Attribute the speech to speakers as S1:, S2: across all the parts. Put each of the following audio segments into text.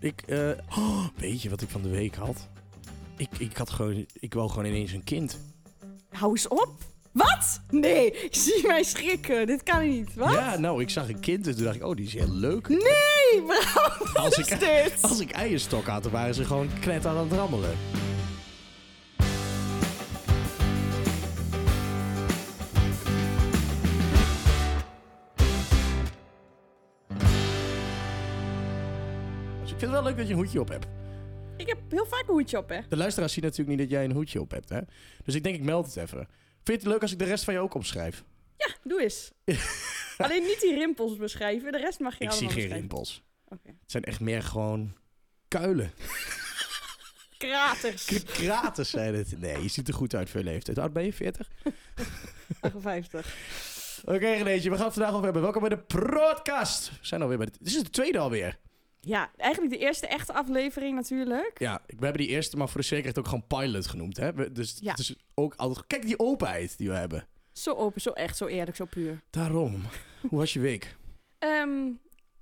S1: Ik, eh, oh, weet je wat ik van de week had? Ik, ik had gewoon, ik wou gewoon ineens een kind.
S2: Hou eens op. Wat? Nee, ik zie mij schrikken. Dit kan niet. Wat?
S1: Ja, nou, ik zag een kind en toen dacht ik, oh, die is heel leuk.
S2: Nee, Bram,
S1: Als
S2: wat
S1: ik-
S2: is dit?
S1: Als ik eierstok had, dan waren ze gewoon knet aan het rammelen. Dus ik vind het wel leuk dat je een hoedje op hebt.
S2: Ik heb heel vaak een hoedje op, hè.
S1: De luisteraars zien natuurlijk niet dat jij een hoedje op hebt, hè? Dus ik denk, ik meld het even. Vind je het leuk als ik de rest van je ook opschrijf?
S2: Ja, doe eens. Alleen niet die rimpels beschrijven. De rest mag je
S1: ik
S2: allemaal
S1: zie geen
S2: beschrijven.
S1: rimpels.
S2: Oké.
S1: Het zijn echt meer gewoon kuilen.
S2: Kraters.
S1: K- Kraters zijn het. Nee, je ziet er goed uit voor je leeftijd. Hoe Oud ben je? 40?
S2: 58.
S1: Oké, Renéetje, we gaan het vandaag over hebben. Welkom bij de podcast. We zijn alweer bij de... Dit is de tweede alweer.
S2: Ja, eigenlijk de eerste echte aflevering natuurlijk.
S1: Ja, we hebben die eerste, maar voor de zekerheid ook gewoon pilot genoemd. Hè? We- dus
S2: Ja.
S1: het is ook altijd... Kijk die openheid die we hebben.
S2: Zo open, zo echt, zo eerlijk, zo puur.
S1: Daarom. Hoe was je week?
S2: Ehm,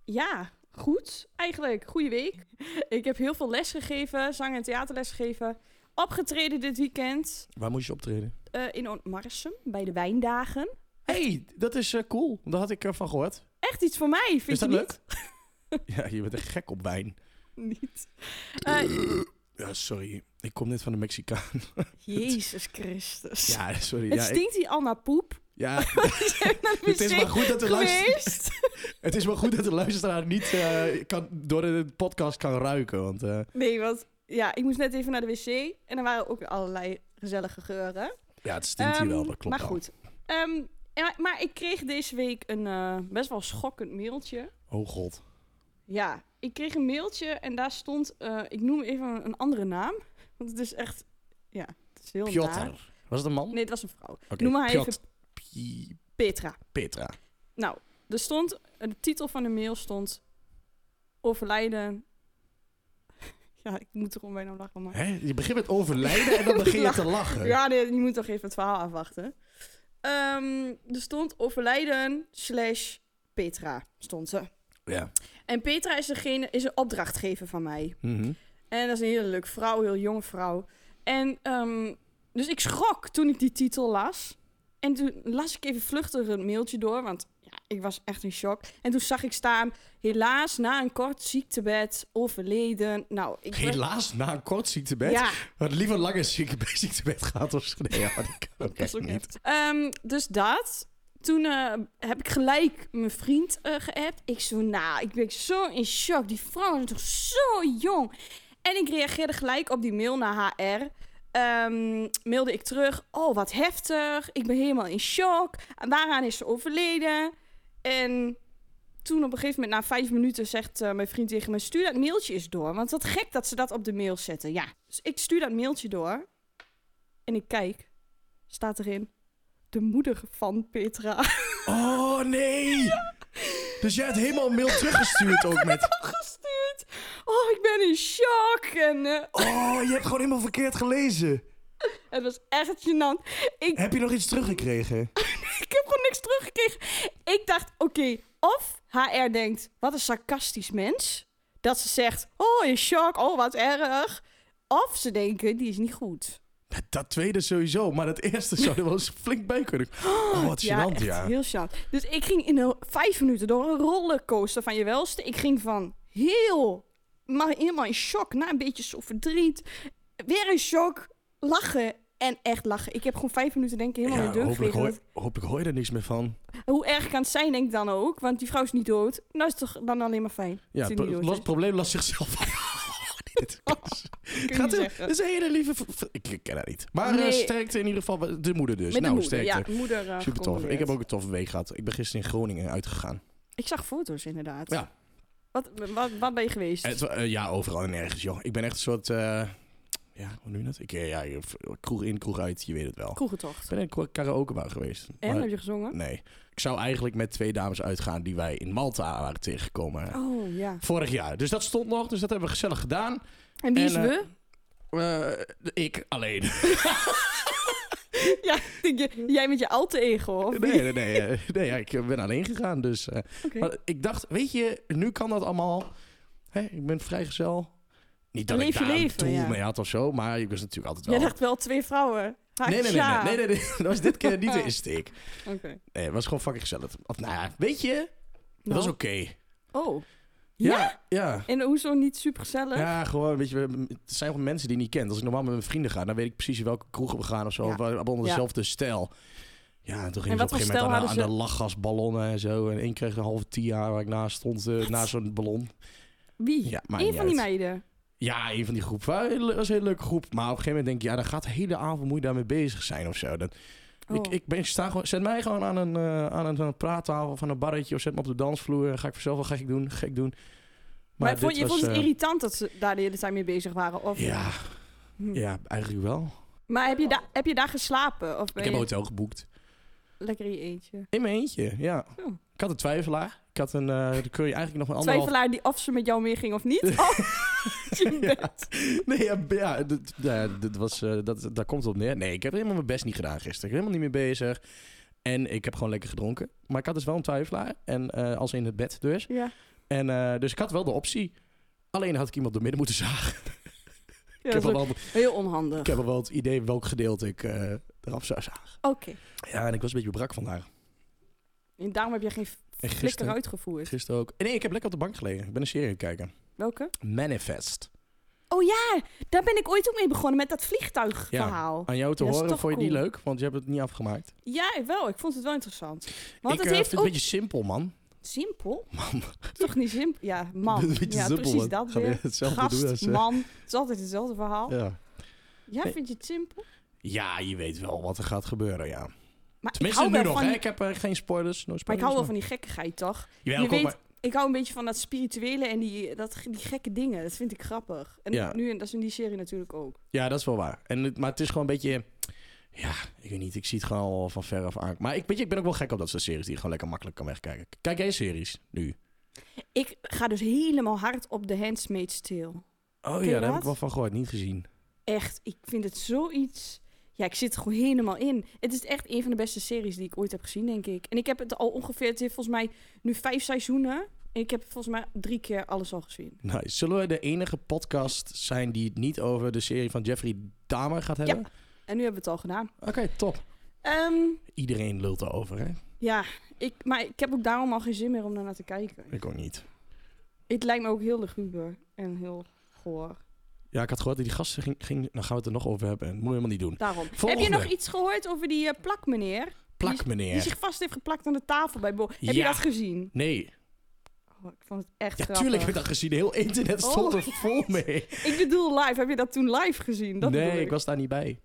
S2: ja, goed eigenlijk. Goeie week. Ik heb heel veel les gegeven, zang- en theaterles gegeven. Opgetreden dit weekend
S1: Waar moest je optreden?
S2: eh, in Ontmarsum bij de Wijndagen.
S1: hey, dat is eh, cool. Daar had ik ervan van gehoord.
S2: Echt iets voor mij, vind
S1: is dat
S2: je
S1: leuk? ja, je bent echt gek op wijn.
S2: niet? Niet. Eh,
S1: Ja, sorry. Ik kom net van de Mexicaan.
S2: Jezus Christus.
S1: Ja, sorry.
S2: Het
S1: ja, ik-
S2: stinkt hier al naar poep.
S1: ja,
S2: Het
S1: het, is maar goed dat de luister...
S2: geweest.
S1: het is maar goed dat de luisteraar niet eh, kan, door de podcast kan ruiken. Want eh,
S2: Nee, want ja, ik moest net even naar de wc. En er waren ook allerlei gezellige geuren.
S1: ja, het stinkt hier
S2: Ehm,
S1: wel. Dat klopt
S2: Maar
S1: wel.
S2: goed. Ehm, ja, maar ik kreeg deze week een eh, best wel schokkend mailtje.
S1: Oh god.
S2: Ja, ik kreeg een mailtje en daar stond, eh, ik noem even een andere naam. Want het is echt, ja, het is heel naar.
S1: Piotr. Was het een man?
S2: Nee, het was een vrouw.
S1: Oké,
S2: noem maar
S1: Piotr.
S2: even
S1: Pi-
S2: Petra.
S1: Petra.
S2: Nou, er stond, eh, de titel van de mail stond, overlijden. ja, ik moet er gewoon bijna om lachen, maar...
S1: Hè? Je begint met overlijden en dan begin je te lachen.
S2: Ja, nee, je moet toch even het verhaal afwachten. Ehm, er stond overlijden slash Petra, stond ze.
S1: Ja.
S2: En Petra is, degene, is een opdrachtgever van mij.
S1: Mhm.
S2: En dat is een hele leuke vrouw, heel jonge vrouw. En ehm, dus ik schrok toen ik die titel las. En toen las ik even vluchtig een mailtje door, want ja, ik was echt in shock. En toen zag ik staan, helaas na een kort ziektebed overleden. Nou, ik werd-
S1: Helaas, na een kort ziektebed.
S2: Ja,
S1: Wat liever langer zieke, ziektebed gaat of zo. Nee, ja, dat kan ook
S2: Dat is
S1: echt
S2: ook
S1: niet.
S2: echt. Ehm, dus dat. Toen eh, heb ik gelijk mijn vriend eh geappt. Ik zo, nou, ik ben zo in shock. Die vrouw is toch zo jong. En ik reageerde gelijk op die mail naar HR. Ehm, mailde ik terug. Oh, wat heftig. Ik ben helemaal in shock. En waaraan is ze overleden? En toen op een gegeven moment, na vijf minuten, zegt eh, mijn vriend tegen me... stuur dat mailtje eens door. Want wat gek dat ze dat op de mail zetten. Ja, dus ik stuur dat mailtje door. En ik kijk staat erin. De moeder van Petra.
S1: Oh nee! Dus jij hebt helemaal mail teruggestuurd ook met.
S2: Gestuurd. Oh, ik ben in shock. En eh,
S1: Oh, je hebt gewoon helemaal verkeerd gelezen.
S2: het was echt gênant. Ik,
S1: Heb je nog iets teruggekregen?
S2: ik heb gewoon niks teruggekregen. Ik dacht, oké, of HR denkt, wat een sarcastisch mens. Dat ze zegt, oh, in shock, oh, wat erg. Of ze denken, die is niet goed.
S1: Dat, dat tweede sowieso, maar dat eerste zou er wel eens flink bij kunnen. Oh, wat gênant,
S2: echt
S1: ja.
S2: heel gênant. Dus ik ging in een, vijf minuten door een rollercoaster van je welste. Ik ging van heel, maar helemaal in shock, na een beetje zo verdriet. Weer in shock, lachen en echt lachen. Ik heb gewoon vijf minuten denk ik helemaal in de deuk
S1: hopelijk,
S2: gelegen.
S1: hoor, hopelijk hoor je er niks meer van.
S2: Hoe erg kan het zijn denk ik dan ook, want die vrouw is niet dood. Nou is het toch dan alleen maar fijn.
S1: Ja,
S2: dat
S1: het
S2: ze niet
S1: pro-
S2: dood
S1: los-
S2: is.
S1: probleem lost zichzelf op. Dit is-
S2: Kun je
S1: Gaat heel-
S2: zeggen.
S1: dit is een hele lieve... v- v- Ik ik ken haar niet. Maar eh,
S2: Nee.
S1: sterkte in ieder geval. De moeder dus.
S2: Met
S1: nou,
S2: de moeder,
S1: sterkte.
S2: ja, moeder eh,
S1: Super tof. Ik
S2: gecondoleerd.
S1: heb ook een toffe week gehad. Ik ben gisteren in Groningen uitgegaan.
S2: Ik zag foto's inderdaad.
S1: Ja.
S2: Wat, wat, wat ben je geweest?
S1: Het wa- eh, ja, overal en ergens, joh. Ik ben echt een soort... eh, ja, hoe noem je dat? Ik, eh, ja, je- kroeg in, kroeg uit, je weet het wel. Ik
S2: Kroegentocht.
S1: ben in een karaokebar geweest.
S2: En,
S1: maar-
S2: heb je gezongen?
S1: nee. Ik zou eigenlijk met twee dames uitgaan die wij in Malta waren tegengekomen.
S2: Oh, ja.
S1: Vorig jaar. Dus dat stond nog. Dus dat hebben we gezellig gedaan.
S2: En wie
S1: En,
S2: is
S1: eh,
S2: we?
S1: Eh, ik alleen.
S2: Ja, denk je, jij met je alte ego, of
S1: Nee,
S2: niet?
S1: nee, nee. eh, nee ja, ik ben alleen gegaan. Dus, eh,
S2: Oké.
S1: Maar ik dacht, weet je, nu kan dat allemaal. hé, ik ben vrijgezel. Niet dat
S2: Dan
S1: ik
S2: leef je
S1: daar een
S2: leven,
S1: doel
S2: ja.
S1: mee had of zo, maar ik was natuurlijk altijd
S2: Jij
S1: wel...
S2: dacht "Ah, wel twee vrouwen. Ha,
S1: nee, nee, nee,
S2: ja.
S1: nee, nee, nee, nee, dat was dit keer niet de insteek.
S2: Oké.
S1: Nee, het was gewoon fucking gezellig. Of nou ja, weet je, dat
S2: Nou.
S1: was oké.
S2: Oh.
S1: Ja, ja.
S2: En hoezo niet super gezellig?
S1: Ja, gewoon, weet je, we- het zijn gewoon mensen die je niet kent. Als ik normaal met mijn vrienden ga, dan weet ik precies welke kroegen we gaan of zo.
S2: Ja.
S1: Of we hebben onder
S2: Ja.
S1: dezelfde stijl. Ja, en toen gingen ze
S2: wat
S1: op een gegeven
S2: voor
S1: moment aan,
S2: stijl
S1: aan de lachgasballonnen en zo. En één kreeg een halve tia waar ik naast stond, eh, naast zo'n ballon.
S2: Wie?
S1: Ja, maakt
S2: Eén
S1: niet
S2: van die
S1: uit.
S2: meiden.
S1: Ja, een van die groep. Wel, heel- Dat was een hele leuke groep. Maar op een gegeven moment denk ik, ja, dan gaat de hele avond moet je daarmee bezig zijn of zo. Dat, ik,
S2: Oh.
S1: ik, ben, ik sta gewoon, zet mij gewoon aan een, eh, aan een, aan een praattafel of aan een barretje of zet me op de dansvloer. En ga ik vanzelf wel gek doen, gek doen.
S2: Maar,
S1: dit
S2: vond, je
S1: was,
S2: vond het
S1: eh,
S2: irritant dat ze daar de hele tijd mee bezig waren? Of...
S1: Ja,
S2: Hm.
S1: ja, eigenlijk wel.
S2: Maar heb je, daar heb je daar geslapen? Of ben
S1: Ik heb een
S2: je
S1: hotel geboekt.
S2: lekker in je eentje?
S1: In mijn eentje, ja.
S2: Oh.
S1: Ik had een twijfelaar. Ik had een, eh dan kun je eigenlijk nog een anderhalf...
S2: Twijfelaar die of ze met jou meeging of niet? Oh, je bent.
S1: Nee, ja, b- ja, dat, ja, dat was, eh, dat, daar komt het op neer. Nee, ik heb helemaal mijn best niet gedaan gisteren. Ik ben helemaal niet meer bezig. En ik heb gewoon lekker gedronken. Maar ik had dus wel een twijfelaar. En eh, als in het bed dus.
S2: Ja.
S1: En, eh, dus ik had wel de optie. Alleen had ik iemand door midden moeten zagen.
S2: Ja,
S1: ik,
S2: dat
S1: heb
S2: is
S1: al
S2: ook
S1: wel,
S2: heel onhandig.
S1: ik heb al wel het idee welk gedeelte ik eh, eraf zou zagen.
S2: Oké.
S1: Ja, en ik was een beetje brak vandaag.
S2: En daarom heb je geen
S1: En
S2: flikker
S1: gisteren,
S2: uitgevoerd.
S1: gisteren ook. Nee, ik heb lekker op de bank gelegen. Ik ben een serie aan het kijken.
S2: Welke?
S1: Manifest.
S2: Oh ja, daar ben ik ooit ook mee begonnen met dat vliegtuigverhaal.
S1: Aan jou te
S2: Ja, is
S1: horen
S2: toch
S1: vond je die
S2: cool.
S1: leuk, want je hebt het niet afgemaakt.
S2: Ja, wel. Ik vond het wel interessant. Want
S1: ik
S2: het
S1: eh,
S2: heeft
S1: vind
S2: ook...
S1: het een beetje simpel, man.
S2: Simpel?
S1: Man.
S2: Toch niet simpel? Ja, man.
S1: Een beetje
S2: ja,
S1: simpel,
S2: precies
S1: man.
S2: dat
S1: Gaan we
S2: weer.
S1: hetzelfde
S2: Gast,
S1: doen als, eh,
S2: man. Het is altijd hetzelfde verhaal.
S1: Ja.
S2: Ja,
S1: Nee.
S2: vind je het simpel?
S1: ja, je weet wel wat er gaat gebeuren, ja.
S2: Maar
S1: Tenminste,
S2: ik
S1: nu
S2: hou wel
S1: nog,
S2: van
S1: hè.
S2: die-
S1: Ik heb eh, geen spoilers. No spoilers
S2: Maar ik hou wel van die gekkigheid, toch?
S1: Jawel,
S2: je
S1: kom
S2: weet,
S1: maar.
S2: ik hou een beetje van dat spirituele en die, dat, die gekke dingen. Dat vind ik grappig. En
S1: Ja.
S2: nu, en dat is in die serie natuurlijk ook.
S1: Ja, dat is wel waar. En, het- maar het is gewoon een beetje... Ja, ik weet niet. Ik zie het gewoon al van ver af aan. Maar ik, weet je, ik ben ook wel gek op dat soort series die je gewoon lekker makkelijk kan wegkijken. Kijk jij series nu?
S2: Ik ga dus helemaal hard op The Handmaid's Tale.
S1: Oh
S2: Ken
S1: ja,
S2: je
S1: daar heb
S2: dat?
S1: ik wel van gehoord. Niet gezien.
S2: Echt, ik vind het zoiets... Ja, ik zit er gewoon helemaal in. Het is echt een van de beste series die ik ooit heb gezien, denk ik. En ik heb het al ongeveer... Het heeft volgens mij nu vijf seizoenen. En ik heb volgens mij drie keer alles al gezien.
S1: Nice. Zullen we de enige podcast zijn die het niet over de serie van Jeffrey Dahmer gaat hebben?
S2: En nu hebben we het al gedaan.
S1: Oké, top.
S2: Ehm,
S1: Iedereen lult erover, hè?
S2: ja, ik, maar ik heb ook daarom al geen zin meer om daarnaar te kijken.
S1: Ik ook niet.
S2: Het lijkt me ook heel luguber en heel goor.
S1: Ja, ik had gehoord dat die gasten ging... ging nou gaan we het er nog over hebben. Moet je helemaal niet doen.
S2: Daarom.
S1: Volgende.
S2: Heb je nog iets gehoord over die eh, plakmeneer?
S1: Plak,
S2: Die
S1: meneer.
S2: zich vast heeft geplakt aan de tafel bij Bo. Heb je
S1: Ja.
S2: dat gezien?
S1: Nee.
S2: Oh, ik vond het echt
S1: Ja,
S2: grappig.
S1: tuurlijk heb ik dat gezien. Heel internet stond
S2: Oh.
S1: er vol mee.
S2: Ik bedoel live. Heb je dat toen live gezien? Dat
S1: nee,
S2: bedoel
S1: ik was daar niet bij.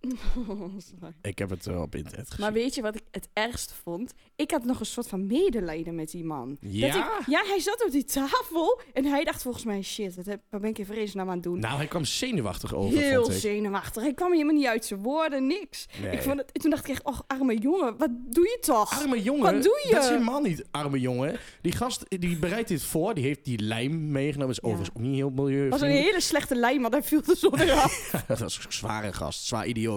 S2: Oh, sorry.
S1: Ik heb het eh, op internet gezien.
S2: maar weet je wat ik het ergst vond? Ik had nog een soort van medelijden met die man.
S1: ja?
S2: Dat ik- ja, hij zat op die tafel en hij dacht volgens mij... Shit, wat, heb, wat ben ik in vredesnaam aan het doen?
S1: Nou, hij kwam zenuwachtig over,
S2: Heel
S1: vond ik.
S2: zenuwachtig. Hij kwam helemaal niet uit zijn woorden, niks.
S1: Nee.
S2: Ik vond het, toen dacht ik echt, oh, arme jongen, wat doe je toch?
S1: Arme jongen,
S2: Wat doe je?
S1: dat is helemaal niet arme jongen. Die gast, die bereidt dit voor. Die heeft die lijm meegenomen. is
S2: Ja.
S1: overigens ook niet heel
S2: Het was een
S1: milieu.
S2: hele slechte lijn, want hij viel de zon eraf.
S1: dat is een zware gast, zwaar idioot.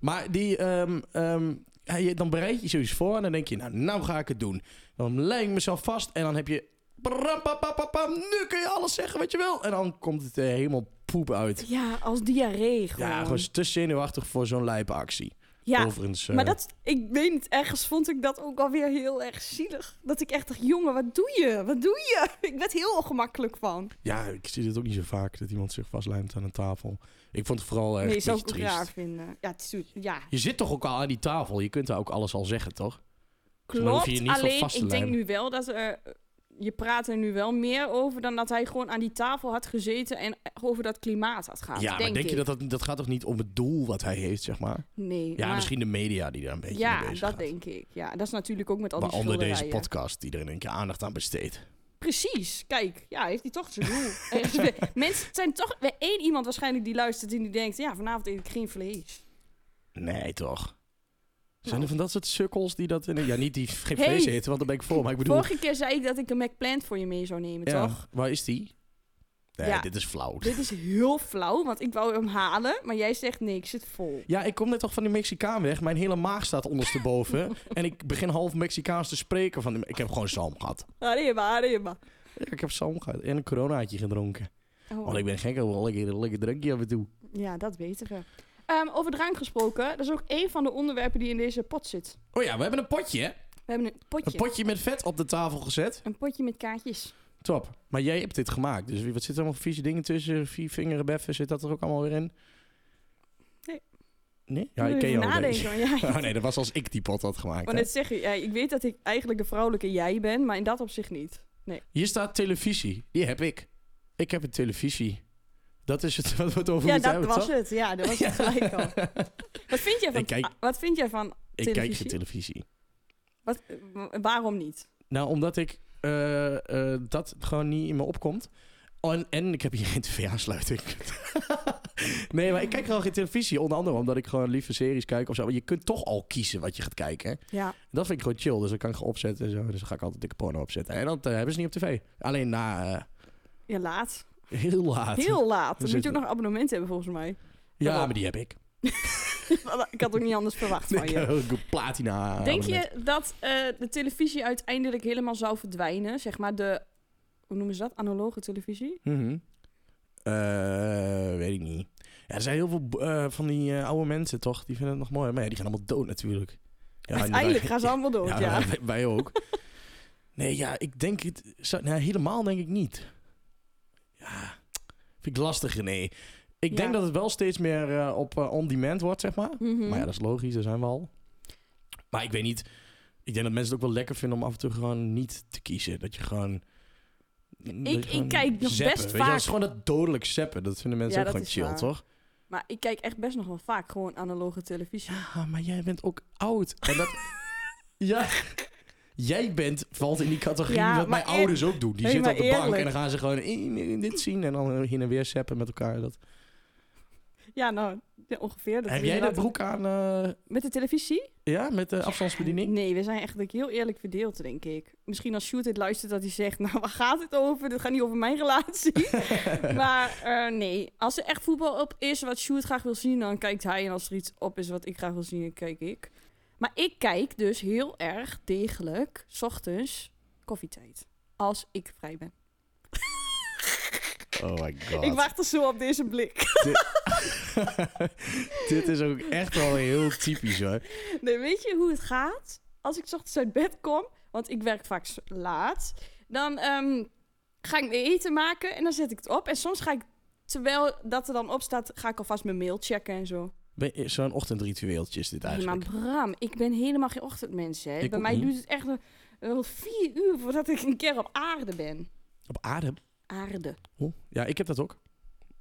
S1: Maar die, ehm, ehm, hij- dan bereid je zoiets voor en dan denk je, nou, nou ga ik het doen. Dan lijm ik mezelf vast en dan heb je... bram, pam, pam, pam, pam, nu kun je alles zeggen wat je wil. En dan komt het eh, helemaal poep uit.
S2: ja, als diarree gewoon.
S1: Ja, gewoon te zenuwachtig voor zo'n lijpe actie.
S2: Ja,
S1: Overigens, eh,
S2: maar dat, ik weet niet, ergens vond ik dat ook alweer heel erg zielig. Dat ik echt dacht, jongen, wat doe je? Wat doe je? Ik werd heel ongemakkelijk van.
S1: Ja, ik zie dit ook niet zo vaak, dat iemand zich vastlijmt aan een tafel. Ik vond het vooral echt
S2: nee,
S1: een
S2: zou
S1: beetje
S2: ik ook
S1: triest.
S2: raar vinden. Ja, het is, zo- ja
S1: Je zit toch ook al aan die tafel? Je kunt daar ook alles al zeggen, toch? dan hoef
S2: klopt.
S1: je je niet zo
S2: Alleen,
S1: vast te
S2: ik denk
S1: lijmen.
S2: nu wel dat er... eh, Je praat er nu wel meer over dan dat hij gewoon aan die tafel had gezeten en over Ah, dat klimaat had gehad.
S1: ja, maar
S2: denk
S1: denk
S2: ik.
S1: je dat, dat dat gaat toch niet om het doel wat hij heeft, zeg maar?
S2: Nee.
S1: Ja,
S2: maar-
S1: misschien de media die daar een beetje mee
S2: Ja,
S1: bezig
S2: dat
S1: gaat.
S2: denk ik. Ja, dat is natuurlijk ook met al die
S1: Maar onder deze
S2: schilderijen.
S1: podcast die er in één keer aandacht aan besteedt. Precies.
S2: Precies, kijk, ja, heeft hij toch zijn doel. Er is weer- Mensen het zijn toch weer één iemand waarschijnlijk die luistert en die denkt, ja, vanavond eet ik geen vlees.
S1: Nee, toch? Zijn
S2: Nou.
S1: er van dat soort sukkels die dat... In, ja, niet die geen
S2: Hey.
S1: vlees eten, want daar ben ik voor. Maar ik bedoel...
S2: Vorige keer zei ik dat ik een McPlant voor je mee zou nemen,
S1: ja,
S2: toch?
S1: waar is die? Nee,
S2: Ja.
S1: dit is flauw.
S2: Dit is heel flauw, want ik wou hem halen, maar jij zegt nee, ik zit vol.
S1: Ja, ik kom net toch van die Mexicaan weg. Mijn hele maag staat ondersteboven. en ik begin half Mexicaans te spreken. Van, ik heb gewoon zalm gehad.
S2: Arriba, arriba.
S1: Ik heb zalm gehad en een coronaatje gedronken.
S2: Oh.
S1: Want ik ben gek over lekker, lekker drankje af en toe.
S2: Ja, dat weten we. Ehm, over drank gesproken, dat is ook één van de onderwerpen die in deze pot zit.
S1: Oh ja, we hebben een potje, hè?
S2: We hebben een potje.
S1: Een potje met vet op de tafel gezet.
S2: Een potje met kaartjes.
S1: Top. Maar jij hebt dit gemaakt. Dus wie- wat zit er allemaal voor vieze dingen tussen? Vier vingeren beffen, zit dat er ook allemaal weer in?
S2: Nee.
S1: Nee? Ja,
S2: Moet
S1: ik ken
S2: even
S1: jou een
S2: nadenken,
S1: beetje.
S2: want jij-
S1: Oh nee, dat was als ik die pot had gemaakt.
S2: Want
S1: hè.
S2: net zeg je, ja, ik weet dat ik eigenlijk de vrouwelijke jij ben, maar in dat opzicht niet.
S1: Hier staat televisie. Die heb ik. Ik heb een televisie. Dat is het wat we het over
S2: Ja,
S1: moeten
S2: dat
S1: hebben,
S2: was
S1: toch?
S2: het. Ja, dat was het gelijk al. Wat vind jij van,
S1: Ik kijk-
S2: ah, wat vind jij van
S1: Ik kijk
S2: televisie?
S1: geen televisie.
S2: wat, eh, wa- waarom niet?
S1: Nou, omdat ik eh, eh, dat gewoon niet in me opkomt. En, en ik heb hier geen tv-aansluiting. nee, maar ik kijk gewoon geen televisie. Onder andere omdat ik gewoon liever series kijk of zo. Maar je kunt toch al kiezen wat je gaat kijken. hè?
S2: Ja,
S1: Dat vind ik gewoon chill. Dus dan kan ik gewoon opzetten en zo. Dus dan ga ik altijd dikke porno opzetten. En dat eh, hebben ze niet op tv. Alleen na eh,
S2: ja laat.
S1: heel laat.
S2: Heel laat. Dan moet je
S1: zitten-
S2: ook nog abonnementen hebben volgens mij.
S1: ja, maar die heb ik.
S2: ik had ook niet anders verwacht van
S1: Ik
S2: je.
S1: heb ook een platina.
S2: Oh, Denk je dat eh, de televisie uiteindelijk helemaal zou verdwijnen? Zeg maar de, hoe noemen ze dat? Analoge televisie?
S1: Mhm. Eh, weet ik niet. Ja, er zijn heel veel eh, van die eh, oude mensen toch? Die vinden het nog mooi. Maar ja, die gaan allemaal dood natuurlijk. Ja,
S2: uiteindelijk
S1: wij-
S2: gaan ze allemaal dood, ja.
S1: Ja, Wij, wij ook. nee, ja, ik denk het... zou- nou, helemaal denk ik niet. Ja, vind ik lastig, nee. Ik denk
S2: Ja.
S1: dat het wel steeds meer eh, op eh, on-demand wordt, zeg maar.
S2: Mhm.
S1: Maar ja, dat is logisch, daar zijn we al. Maar ik weet niet. Ik denk dat mensen het ook wel lekker vinden om af en toe gewoon niet te kiezen. Dat je gewoon. dat je
S2: ik
S1: gewoon
S2: kijk nog
S1: zappen.
S2: best
S1: Weet je, dat is
S2: vaak-
S1: gewoon dat dodelijk zeppen. Dat vinden mensen
S2: Ja,
S1: ook
S2: dat
S1: gewoon
S2: is
S1: chill,
S2: waar.
S1: toch?
S2: Maar ik kijk echt best nog wel vaak gewoon analoge televisie.
S1: Ja, maar jij bent ook oud. En dat. ja. Jij bent, valt in die categorie
S2: Ja,
S1: wat mijn
S2: maar eer-
S1: ouders ook doen. Die
S2: Nee,
S1: zitten op de
S2: maar
S1: bank en
S2: eerlijk.
S1: dan gaan ze gewoon in, in dit zien en dan heen en weer zeppen met elkaar. Dat.
S2: Ja, nou, ja, ongeveer. Dat
S1: Heb
S2: is
S1: jij dat
S2: inderdaad-
S1: broek aan? eh,
S2: Met de televisie?
S1: ja, met de afstandsbediening?
S2: Nee, we zijn echt heel eerlijk verdeeld, denk ik. Misschien als Shoot dit luistert dat hij zegt, nou, waar gaat het over? Dit gaat niet over mijn relatie. maar eh, nee, als er echt voetbal op is wat Shoot graag wil zien, dan kijkt hij. En als er iets op is wat ik graag wil zien, dan kijk ik. Maar ik kijk dus heel erg degelijk, s ochtends, koffietijd. Als ik vrij ben.
S1: Oh my god.
S2: Ik wacht er zo op deze blik.
S1: Dit is ook echt wel heel typisch hoor.
S2: Nee, weet je hoe het gaat? Als ik 's ochtends uit bed kom, want ik werk vaak s- laat, dan ehm, ga ik mijn eten maken en dan zet ik het op. En soms ga ik, terwijl dat er dan op staat, ga ik alvast mijn mail checken en zo.
S1: Ben je- Zo'n ochtendritueeltje is dit
S2: Ja, maar
S1: eigenlijk.
S2: Bram, ik ben helemaal geen ochtendmens, hè.
S1: Ik
S2: Bij
S1: ook
S2: mij
S1: niet.
S2: duurt het echt eh, wel vier uur voordat ik een keer op aarde ben.
S1: Op adem.
S2: Aarde.
S1: Oh, Ja, ik heb dat ook.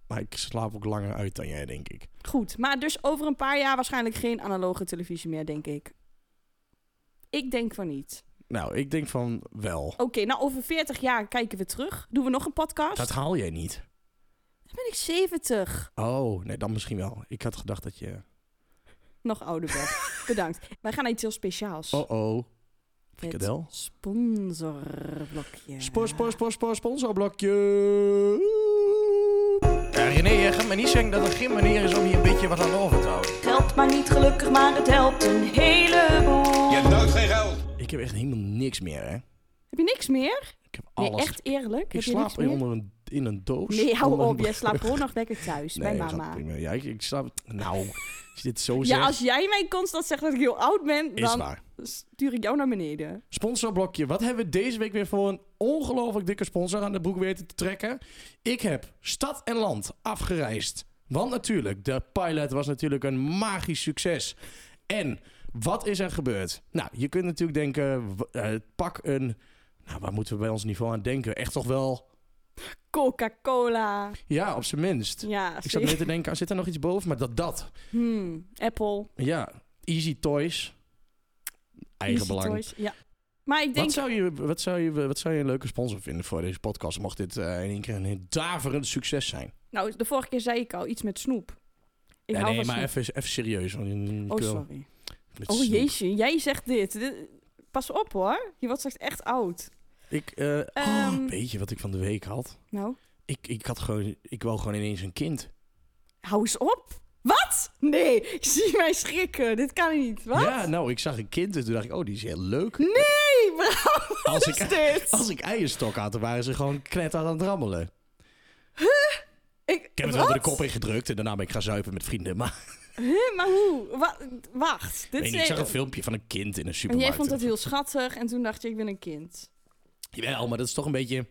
S1: Maar ik slaap ook langer uit dan jij, denk ik.
S2: Goed, maar dus over een paar jaar waarschijnlijk geen analoge televisie meer, denk ik. Ik denk van niet.
S1: Nou, ik denk van wel.
S2: Oké, nou over 40 jaar kijken we terug. Doen we nog een podcast?
S1: Dat haal jij niet.
S2: Dan ben ik 70.
S1: Oh, nee, dan misschien wel. Ik had gedacht dat je...
S2: Nog ouder ben. Bedankt. Wij gaan naar iets heel speciaals.
S1: Oh, oh.
S2: Het
S1: Frikadel.
S2: Sponsorblokje.
S1: Spoor, spoor, spoor, spoor, sponsorblokje. Ja, René, jij gaat me niet zeggen dat er geen manier is om hier een beetje wat aan over te houden.
S2: Geld maar niet gelukkig, maar het helpt een heleboel.
S3: Je hebt nooit geen geld.
S1: Ik heb echt helemaal niks meer, hè.
S2: Heb je niks meer?
S1: Ik heb
S2: Nee,
S1: alles.
S2: echt eerlijk?
S1: Ik
S2: Heb je niks
S1: slaap in,
S2: meer?
S1: onder een, in een doos.
S2: Nee, hou
S1: Onder een
S2: op. Jij slaapt gewoon nog lekker thuis bij
S1: dat gaat
S2: mama.
S1: prima. Ja, ik, ik snap het. Nou, als je dit zo zegt,
S2: Ja, als jij mij constant zegt dat ik heel oud ben,
S1: is
S2: dan
S1: waar.
S2: stuur ik jou naar beneden.
S1: Sponsorblokje. Wat hebben we deze week weer voor een ongelooflijk dikke sponsor aan de broek weten te trekken? Ik heb stad en land afgereisd. Want natuurlijk, de pilot was natuurlijk een magisch succes. En wat is er gebeurd? Nou, je kunt natuurlijk denken, w- eh, pak een... Nou, waar moeten we bij ons niveau aan denken? Echt toch wel...
S2: Coca-Cola.
S1: Ja, op zijn minst.
S2: Ja,
S1: Ik zat
S2: zeker.
S1: meer te denken, ah, zit er nog iets boven? Maar dat dat.
S2: Hmm, Apple.
S1: Ja, Easy Toys. Eigen
S2: Easy
S1: belang.
S2: Toys, Ja. Maar ik denk
S1: Wat, zou je, wat, zou je, wat zou je een leuke sponsor vinden voor deze podcast? Mocht dit eh, in één keer een daverend succes zijn.
S2: Nou, de vorige keer zei ik al iets met snoep. Ik
S1: Ja, nee,
S2: hou van
S1: maar
S2: snoep.
S1: even, even serieus. want ik wil-
S2: Oh, sorry.
S1: met
S2: Oh,
S1: snoep.
S2: jeetje. Jij zegt dit. Dit- Pas op, hoor. Je wordt straks echt oud.
S1: Ik, eh, oh,
S2: Ehm.
S1: weet je wat ik van de week had?
S2: Nou,
S1: Ik, ik, had gewoon, ik wou gewoon ineens een kind.
S2: hou eens op. Wat? Nee, ik zie mij schrikken. Dit kan niet. Wat?
S1: Ja, nou, ik zag een kind en toen dacht ik, oh, die is heel leuk.
S2: Nee, überhaupt?
S1: Als
S2: Wat is
S1: ik,
S2: dit?
S1: als ik eierstok had, dan waren ze gewoon knetter aan het rammelen.
S2: Ik,
S1: Ik heb het wel door de kop ingedrukt en daarna ben ik gaan zuipen met vrienden. Maar
S2: Huh, maar hoe? Wa- wacht. Dit
S1: weet
S2: is
S1: niet, ik zag
S2: echt-
S1: een filmpje van een kind in een
S2: En
S1: supermarkt.
S2: jij vond dat heel schattig en toen dacht je, ik ben een kind.
S1: Jawel, maar dat is toch een beetje...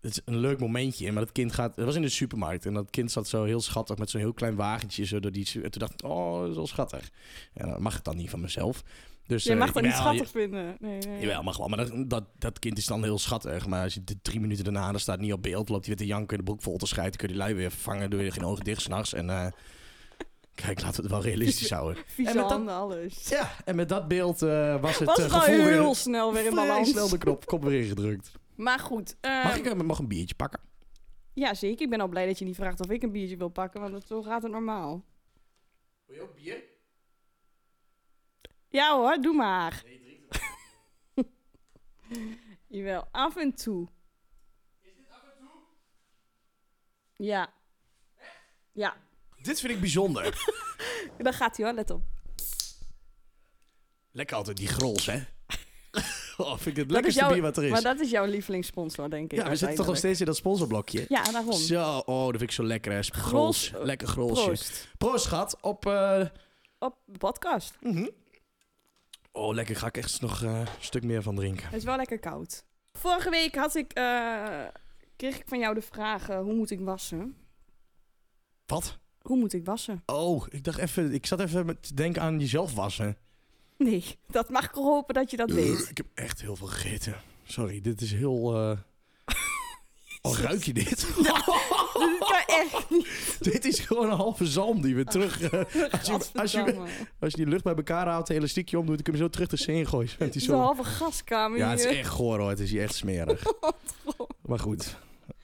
S1: Het is een leuk momentje, maar dat kind gaat... Het was in de supermarkt en dat kind zat zo heel schattig met zo'n heel klein wagentje. Zo door die, su- en toen dacht ik, oh, dat is wel schattig. En dat mag het dan niet van mezelf. Dus,
S2: Je
S1: eh,
S2: mag dat niet
S1: jawel,
S2: schattig vinden. Nee, nee.
S1: je- Jawel, mag wel. Maar dat, dat, dat kind is dan heel schattig. Maar als je de drie minuten daarna, dan staat het niet op beeld, loopt hij weer te janken, de broek vol te schijten, kun je die lui weer vervangen, doe je geen ogen dicht s'nachts. En eh, kijk, laten we het wel realistisch houden.
S2: Vieze
S1: En met dat-
S2: handen, alles.
S1: Ja, en met dat beeld eh, was het
S2: Was
S1: eh,
S2: het al
S1: gevoel
S2: heel
S1: weer
S2: snel weer in
S1: vrij
S2: balans.
S1: snel de knop, kop weer ingedrukt.
S2: Maar goed. eh,
S1: Mag ik eh, nog een biertje pakken?
S2: Ja, zeker. Ik ben al blij dat je niet vraagt of ik een biertje wil pakken, want dat- zo gaat het normaal.
S1: Wil je ook bier?
S2: Ja hoor, doe maar. Jawel, af en toe. Is dit af en toe? Ja. Ja,
S1: Dit vind ik bijzonder.
S2: dan gaat hij hoor, let op.
S1: Lekker altijd die grols, hè? oh, vind ik het
S2: Dat is
S1: lekkerste
S2: jouw-
S1: bier wat er is.
S2: Maar dat is jouw lievelingssponsor, denk ik.
S1: ja, we zitten toch nog
S2: uiteindelijk.
S1: steeds in dat sponsorblokje.
S2: Ja, daarom.
S1: Zo, oh, dat vind ik zo lekker, hè? Grols.
S2: Grols, eh,
S1: Lekker grolsje. Proost,
S2: Proost.
S1: schat. Op, eh,
S2: Op de podcast.
S1: Oh, lekker. Ga ik echt nog eh, een stuk meer van drinken.
S2: Het is wel lekker koud. Vorige week had ik, eh, kreeg ik van jou de vraag, eh, hoe moet ik wassen?
S1: Wat?
S2: Hoe moet ik wassen?
S1: Oh, ik dacht even... Ik zat even met- te denken aan jezelf wassen.
S2: Nee, dat mag ik hopen dat je dat weet.
S1: Ik heb echt heel veel gegeten. Sorry, dit is heel. eh Oh, ruik je dit?
S2: Dit kan echt niet.
S1: dit is gewoon een halve zalm die we terug. eh, als, je, als, je,
S2: Gadverdamme.
S1: als je die lucht bij elkaar houdt, het elastiekje omdoet, dan kun je hem zo terug de zee in gooien. Met die
S2: Het is een
S1: zo...
S2: halve gaskamer
S1: Ja, het is
S2: hier.
S1: echt goor hoor. Het is hier echt smerig. Maar goed,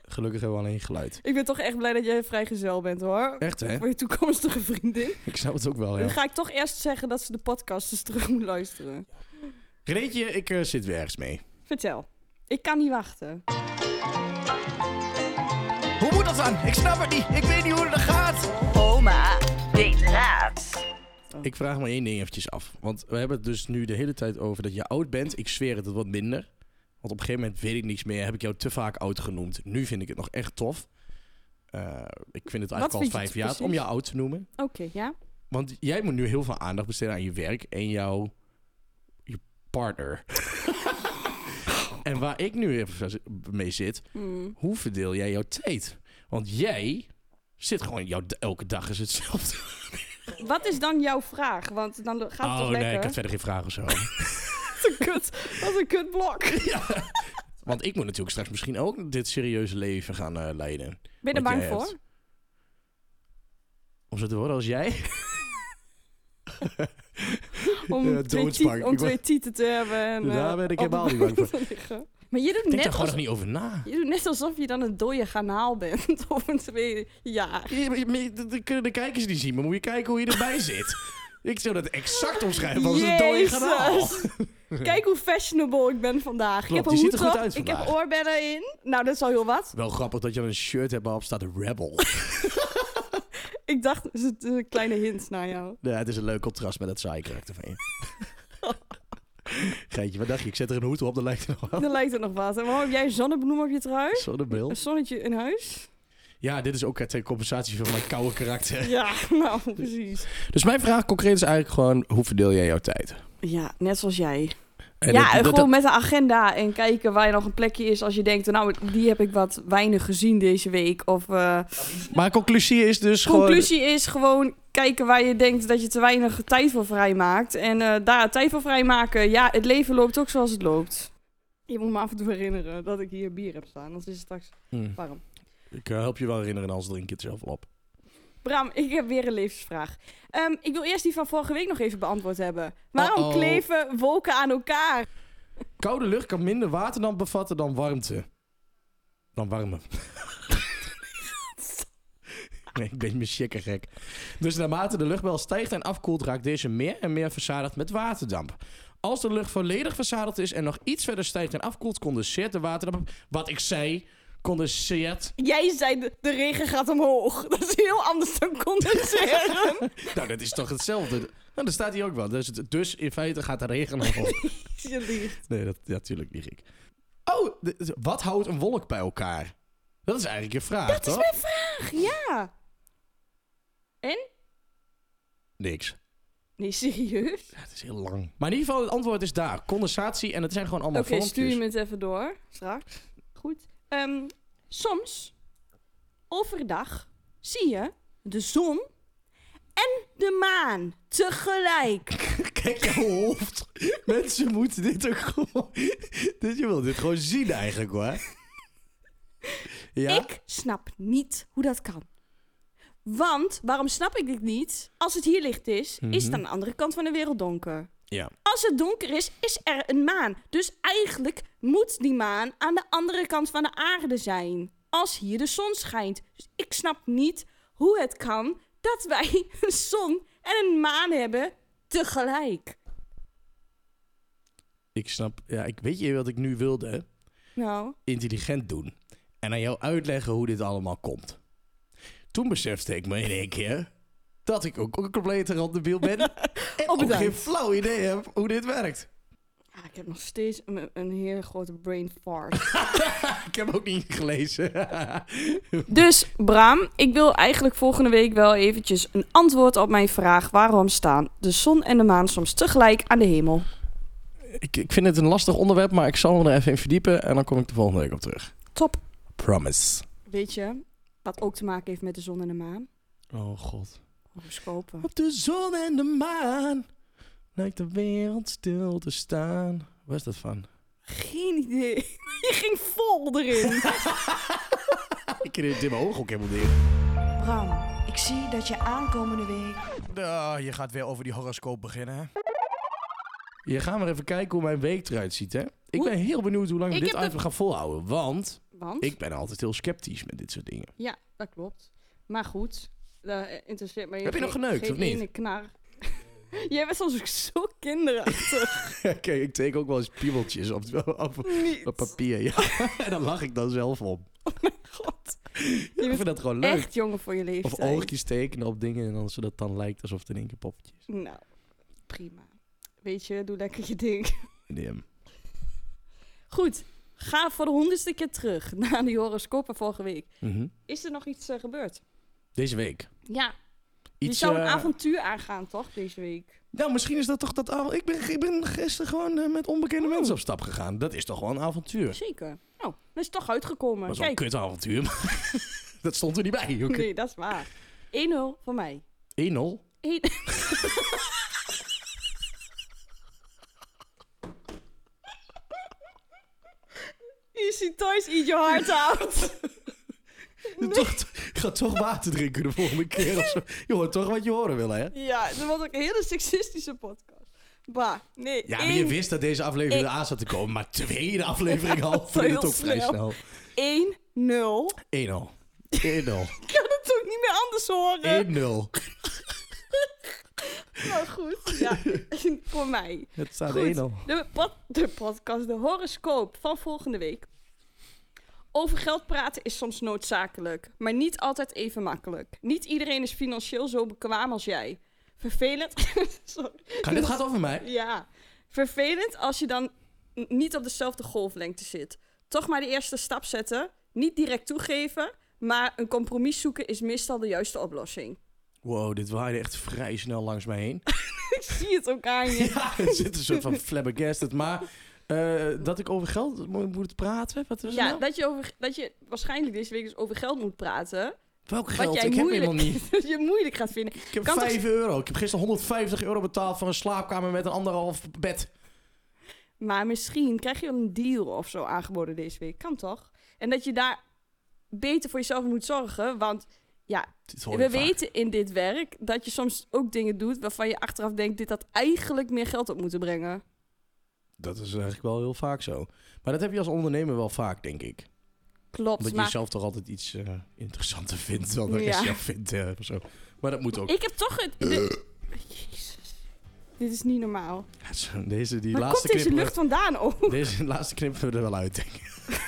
S1: gelukkig hebben we alleen geluid.
S2: Ik ben toch echt blij dat jij vrijgezel bent hoor.
S1: Echt hè?
S2: Voor je toekomstige vriendin.
S1: Ik snap het ook wel. Oh Ja.
S2: Dan ga ik toch eerst zeggen dat ze de podcast eens terug moet luisteren.
S1: Greetje, ik eh, zit weer ergens mee.
S2: Vertel. Ik kan niet wachten.
S1: Hoe moet dat dan? Ik snap het niet. Ik weet niet hoe dat gaat.
S3: Oma, weet raad.
S1: Ik vraag me één ding eventjes af. Want we hebben het dus nu de hele tijd over dat je oud bent. Ik zweer het, het wordt minder. Want op een gegeven moment weet ik niks meer. Heb ik jou te vaak oud genoemd. Nu vind ik het nog echt tof. Eh, ik vind het
S2: Wat
S1: eigenlijk al
S2: vind je
S1: vijf
S2: het
S1: jaar om
S2: precies?
S1: jou oud te noemen.
S2: Oké, ja?
S1: Want jij moet nu heel veel aandacht besteden aan je werk en jouw je partner. en waar ik nu even mee zit,
S2: Hmm.
S1: hoe verdeel jij jouw tijd? Want jij zit gewoon, jouw, elke dag is hetzelfde.
S2: Wat is dan jouw vraag? Want dan gaat het
S1: oh
S2: toch
S1: nee,
S2: lekker?
S1: ik had verder geen vragen of zo.
S2: Wat een kut, wat een kut blok.
S1: Want ik moet natuurlijk straks misschien ook dit serieuze leven gaan eh, leiden.
S2: Ben je er
S1: Wat
S2: bang
S1: jij
S2: voor?
S1: hebt. Om zo te worden als jij.
S2: Om,
S1: Ja,
S2: twee,
S1: doodsbang.
S2: tiet- om
S1: Ik wou- Dus
S2: twee tieten te hebben. En, eh,
S1: Daar ben ik
S2: op
S1: helemaal
S2: een
S1: niet bang
S2: bank te liggen. Maar je doet,
S1: Denk daar
S2: net
S1: gewoon
S2: als,
S1: nog niet over na.
S2: je doet net alsof je dan een dode garnaal bent. Of een twee jaar.
S1: Ja, maar- maar dat- dat kunnen de kijkers niet zien, maar moet je kijken hoe je erbij zit. Ik zou dat exact omschrijven als een dode kanaal.
S2: Jezus. Kijk hoe fashionable ik ben vandaag.
S1: Klopt,
S2: ik heb een
S1: je ziet
S2: hoed
S1: er goed
S2: op,
S1: uit
S2: ik
S1: vandaag.
S2: heb oorbellen in. Nou, dat is al heel wat.
S1: Wel grappig dat je dan een shirt hebt waarop staat Rebel.
S2: Ik dacht, dat is een- dat is een kleine hint naar jou.
S1: ja, het is een leuk contrast met dat saaie karakter van je. Geetje, wat dacht je? Ik zet er een hoed op, dat lijkt er nog wel.
S2: Dan lijkt het nog wat. En waarom heb jij een zonnebloem op je trui?
S1: Zonnebril.
S2: Een zonnetje in huis?
S1: Ja, dit is ook ter compensatie van mijn koude karakter.
S2: Ja, nou, precies.
S1: Dus mijn vraag concreet is eigenlijk gewoon, hoe verdeel jij jouw tijd?
S2: Ja, net zoals jij.
S1: En
S2: ja,
S1: dat-
S2: en
S1: dat-
S2: gewoon met een agenda en kijken waar je nog een plekje is als je denkt, nou, die heb ik wat weinig gezien deze week. Of eh,
S1: dat- maar conclusie is dus gewoon...
S2: conclusie is gewoon kijken waar je denkt dat je te weinig tijd voor vrijmaakt. En eh, daar tijd voor vrijmaken, ja, het leven loopt ook zoals het loopt. Je moet me af en toe herinneren dat ik hier bier heb staan, anders is het straks
S1: Hm,
S2: warm.
S1: Ik eh, help je wel herinneren, anders drink je het zelf wel op.
S2: Bram, ik heb weer een levensvraag. Ehm, ik wil eerst die van vorige week nog even beantwoord hebben. Waarom
S1: Uh-oh.
S2: kleven wolken aan elkaar?
S1: Koude lucht kan minder water dan bevatten dan warmte. Dan warme. nee, ik ben me chicker gek. Dus naarmate de luchtbel stijgt en afkoelt, raakt deze meer en meer verzadigd met waterdamp. Als de lucht volledig verzadigd is en nog iets verder stijgt en afkoelt, condenseert de waterdamp. Wat ik zei, condenseert.
S2: Jij zei de, de regen gaat omhoog. Dat is heel anders dan condenseren.
S1: Nou, dat is toch hetzelfde. Nou, dat staat hier ook wel. Dus, dus in feite gaat de regen omhoog.
S2: Je liegt.
S1: Nee, dat natuurlijk lieg ik. Oh, de- de- wat houdt een wolk bij elkaar? Dat is eigenlijk je vraag,
S2: Dat is
S1: toch?
S2: mijn vraag, ja.
S1: Niks.
S2: Nee, serieus?
S1: Ja, het is heel lang. Maar in ieder geval, het antwoord is daar. Condensatie en het zijn gewoon allemaal
S2: Oké,
S1: vormpjes.
S2: stuur je me het even door. Straks. Goed. Ehm, soms, overdag, zie je de zon en de maan tegelijk.
S1: Kijk jouw hoofd. Mensen moeten dit ook gewoon... Dit, je wil dit gewoon zien eigenlijk, hoor. Ja?
S2: Ik snap niet hoe dat kan. Want, waarom snap ik dit niet? Als het hier licht is, is het aan de andere kant van de wereld donker.
S1: Ja.
S2: Als het donker is, is er een maan. Dus eigenlijk moet die maan aan de andere kant van de aarde zijn. Als hier de zon schijnt. Dus ik snap niet hoe het kan dat wij een zon en een maan hebben tegelijk.
S1: Ik snap... Ja, ik weet je wat ik nu wilde?
S2: Nou,
S1: Intelligent doen. En aan jou uitleggen hoe dit allemaal komt. Toen besefte ik me in één keer... dat ik ook een complete randebiel ben. en ook
S2: bedankt.
S1: geen flauw idee heb hoe dit werkt.
S2: ah, ik heb nog steeds een, een heel grote brain fart.
S1: Ik heb ook niet gelezen.
S2: dus Bram, ik wil eigenlijk volgende week wel eventjes een antwoord op mijn vraag. Waarom staan de zon en de maan soms tegelijk aan de hemel?
S1: ik, ik vind het een lastig onderwerp, maar ik zal me er even in verdiepen... en dan kom ik de volgende week op terug.
S2: Top.
S1: Promise.
S2: Weet je, wat ook te maken heeft met de zon en de maan?
S1: Oh god.
S2: Horoscopen.
S1: Op de zon en de maan lijkt de wereld stil te staan. Waar is dat van?
S2: Geen idee. Je ging vol erin.
S1: Ik kreeg het in mijn ogen ook helemaal
S4: Bram, ik zie dat je aankomende week
S1: Ah, je gaat weer over die horoscoop beginnen, hè? Je gaat maar even kijken hoe mijn week eruit ziet, hè? Ik
S2: Hoe-
S1: ben heel benieuwd hoe lang we
S2: Ik
S1: dit
S2: heb de-
S1: item gaan volhouden. Want
S2: Want?
S1: ik ben altijd heel sceptisch met dit soort dingen.
S2: Ja, dat klopt. Maar goed, dat interesseert mij
S1: Heb je nog
S2: geen-
S1: geneukt,
S2: geen
S1: of niet?
S2: ene knar. Jij bent soms ook zo kinderachtig.
S1: Oké, ik teken ook wel eens piebeltjes op, op,
S2: niet.
S1: op papier. Ja. en dan lach ik dan zelf om.
S2: Oh God.
S1: Ik vind dat gewoon leuk.
S2: Echt jongen voor je
S1: Of
S2: leeftijd.
S1: oogjes tekenen op dingen en dan zodat het dan lijkt alsof het in één keer poppetje is.
S2: Nou, prima. Weet je, doe lekker je ding.
S1: Nee, hem.
S2: Goed, ga voor de honderdste keer terug naar die horoscopen vorige week.
S1: Mhm.
S2: Is er nog iets eh, gebeurd?
S1: Deze week.
S2: Ja,
S1: Iets,
S2: je zou een
S1: eh,
S2: avontuur aangaan, toch, deze week?
S1: Nou, misschien is dat toch dat avontuur. Ik ben, ik ben gisteren gewoon eh, met onbekende mensen op stap gegaan. Dat is toch wel een avontuur.
S2: Zeker. Nou, dat is toch uitgekomen.
S1: Dat is wel een
S2: Kijk,
S1: kut avontuur, maar dat stond er niet bij. joh.
S2: nee, dat is waar. 1-0 voor mij.
S1: 1-0.
S2: Eén- Easy toys, eat your heart out.
S1: Toch, ik ga toch water drinken de volgende keer of zo. Je hoort toch wat je horen wil, hè?
S2: ja, dat was ook een hele seksistische podcast. Bah, nee.
S1: Ja, maar je
S2: één-
S1: wist dat deze aflevering
S2: Eén.
S1: eraan zat te komen. Maar tweede aflevering al. Vond je
S2: heel
S1: het ook vrij snel.
S2: snel. 1-0.
S1: 1-0. 1-0.
S2: Ik kan het ook niet meer anders horen.
S1: 1-0.
S2: Maar goed, ja, voor mij.
S1: Het staat 1-0.
S2: Goed. De, pod- de podcast, de horoscoop van volgende week. Over geld praten is soms noodzakelijk, maar niet altijd even makkelijk. Niet iedereen is financieel zo bekwaam als jij. Vervelend. Sorry.
S1: Ga, dit gaat over mij.
S2: Ja. Vervelend als je dan n- niet op dezelfde golflengte zit. Toch maar de eerste stap zetten. Niet direct toegeven, maar een compromis zoeken is meestal de juiste oplossing.
S1: Wow, dit waaide echt vrij snel langs mij heen.
S2: Ik zie het ook aan je.
S1: Ja, er zit een soort van flabbergasted. Maar eh, dat ik over geld mo- moet praten? Wat is er
S2: Ja,
S1: nou?
S2: dat je, over, dat je waarschijnlijk deze week dus over geld moet praten.
S1: Welk
S2: Wat
S1: geld?
S2: jij
S1: Ik heb
S2: moeilijk,
S1: helemaal niet.
S2: dat je moeilijk gaat vinden.
S1: Ik heb
S2: Kan toch-
S1: 5 euro. Ik heb gisteren 150 euro betaald voor een slaapkamer met een anderhalf bed.
S2: Maar misschien krijg je wel een deal of zo aangeboden deze week. Kan toch? En dat je daar beter voor jezelf moet zorgen. Want
S1: Dit hoor
S2: we
S1: ik vaak.
S2: weten in dit werk dat je soms ook dingen doet waarvan je achteraf denkt: dit had eigenlijk meer geld op moeten brengen.
S1: Dat is eigenlijk wel heel vaak zo. Maar dat heb je als ondernemer wel vaak, denk ik.
S2: Klopt.
S1: Omdat je
S2: maar
S1: zelf toch altijd iets eh, interessanter vindt dan de rest
S2: Ja.
S1: jou vindt. eh, of zo. Maar dat moet ook. Eh.
S2: ik heb toch het. de- Jezus. Dit is niet normaal.
S1: Ja, zo, Deze, die
S2: Waar komt
S1: laatste
S2: deze
S1: knippen
S2: lucht vandaan ook?
S1: Deze laatste knippen we er wel uit, denk ik.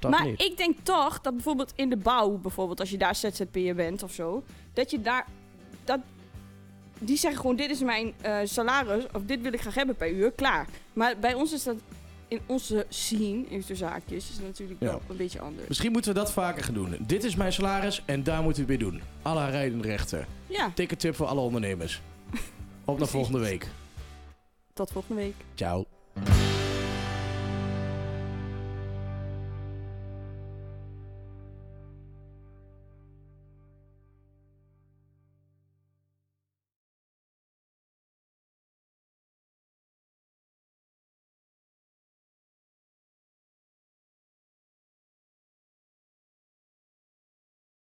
S1: dat
S2: maar
S1: niet.
S2: ik denk toch dat bijvoorbeeld in de bouw, bijvoorbeeld als je daar ZZP'er bent of zo, dat je daar. Dat, die zeggen gewoon: dit is mijn eh, salaris, of dit wil ik graag hebben per uur, klaar. Maar bij ons is dat in onze scene, in de zaakjes, is dat natuurlijk
S1: Ja. Dus-
S2: wel een beetje anders.
S1: Misschien moeten we dat vaker gaan doen. Dit is mijn salaris en daar moeten we het mee doen. Alle rijdenrechten.
S2: Ja,
S1: Dikke tip voor alle ondernemers. Op naar volgende week.
S2: tot volgende week.
S1: Ciao.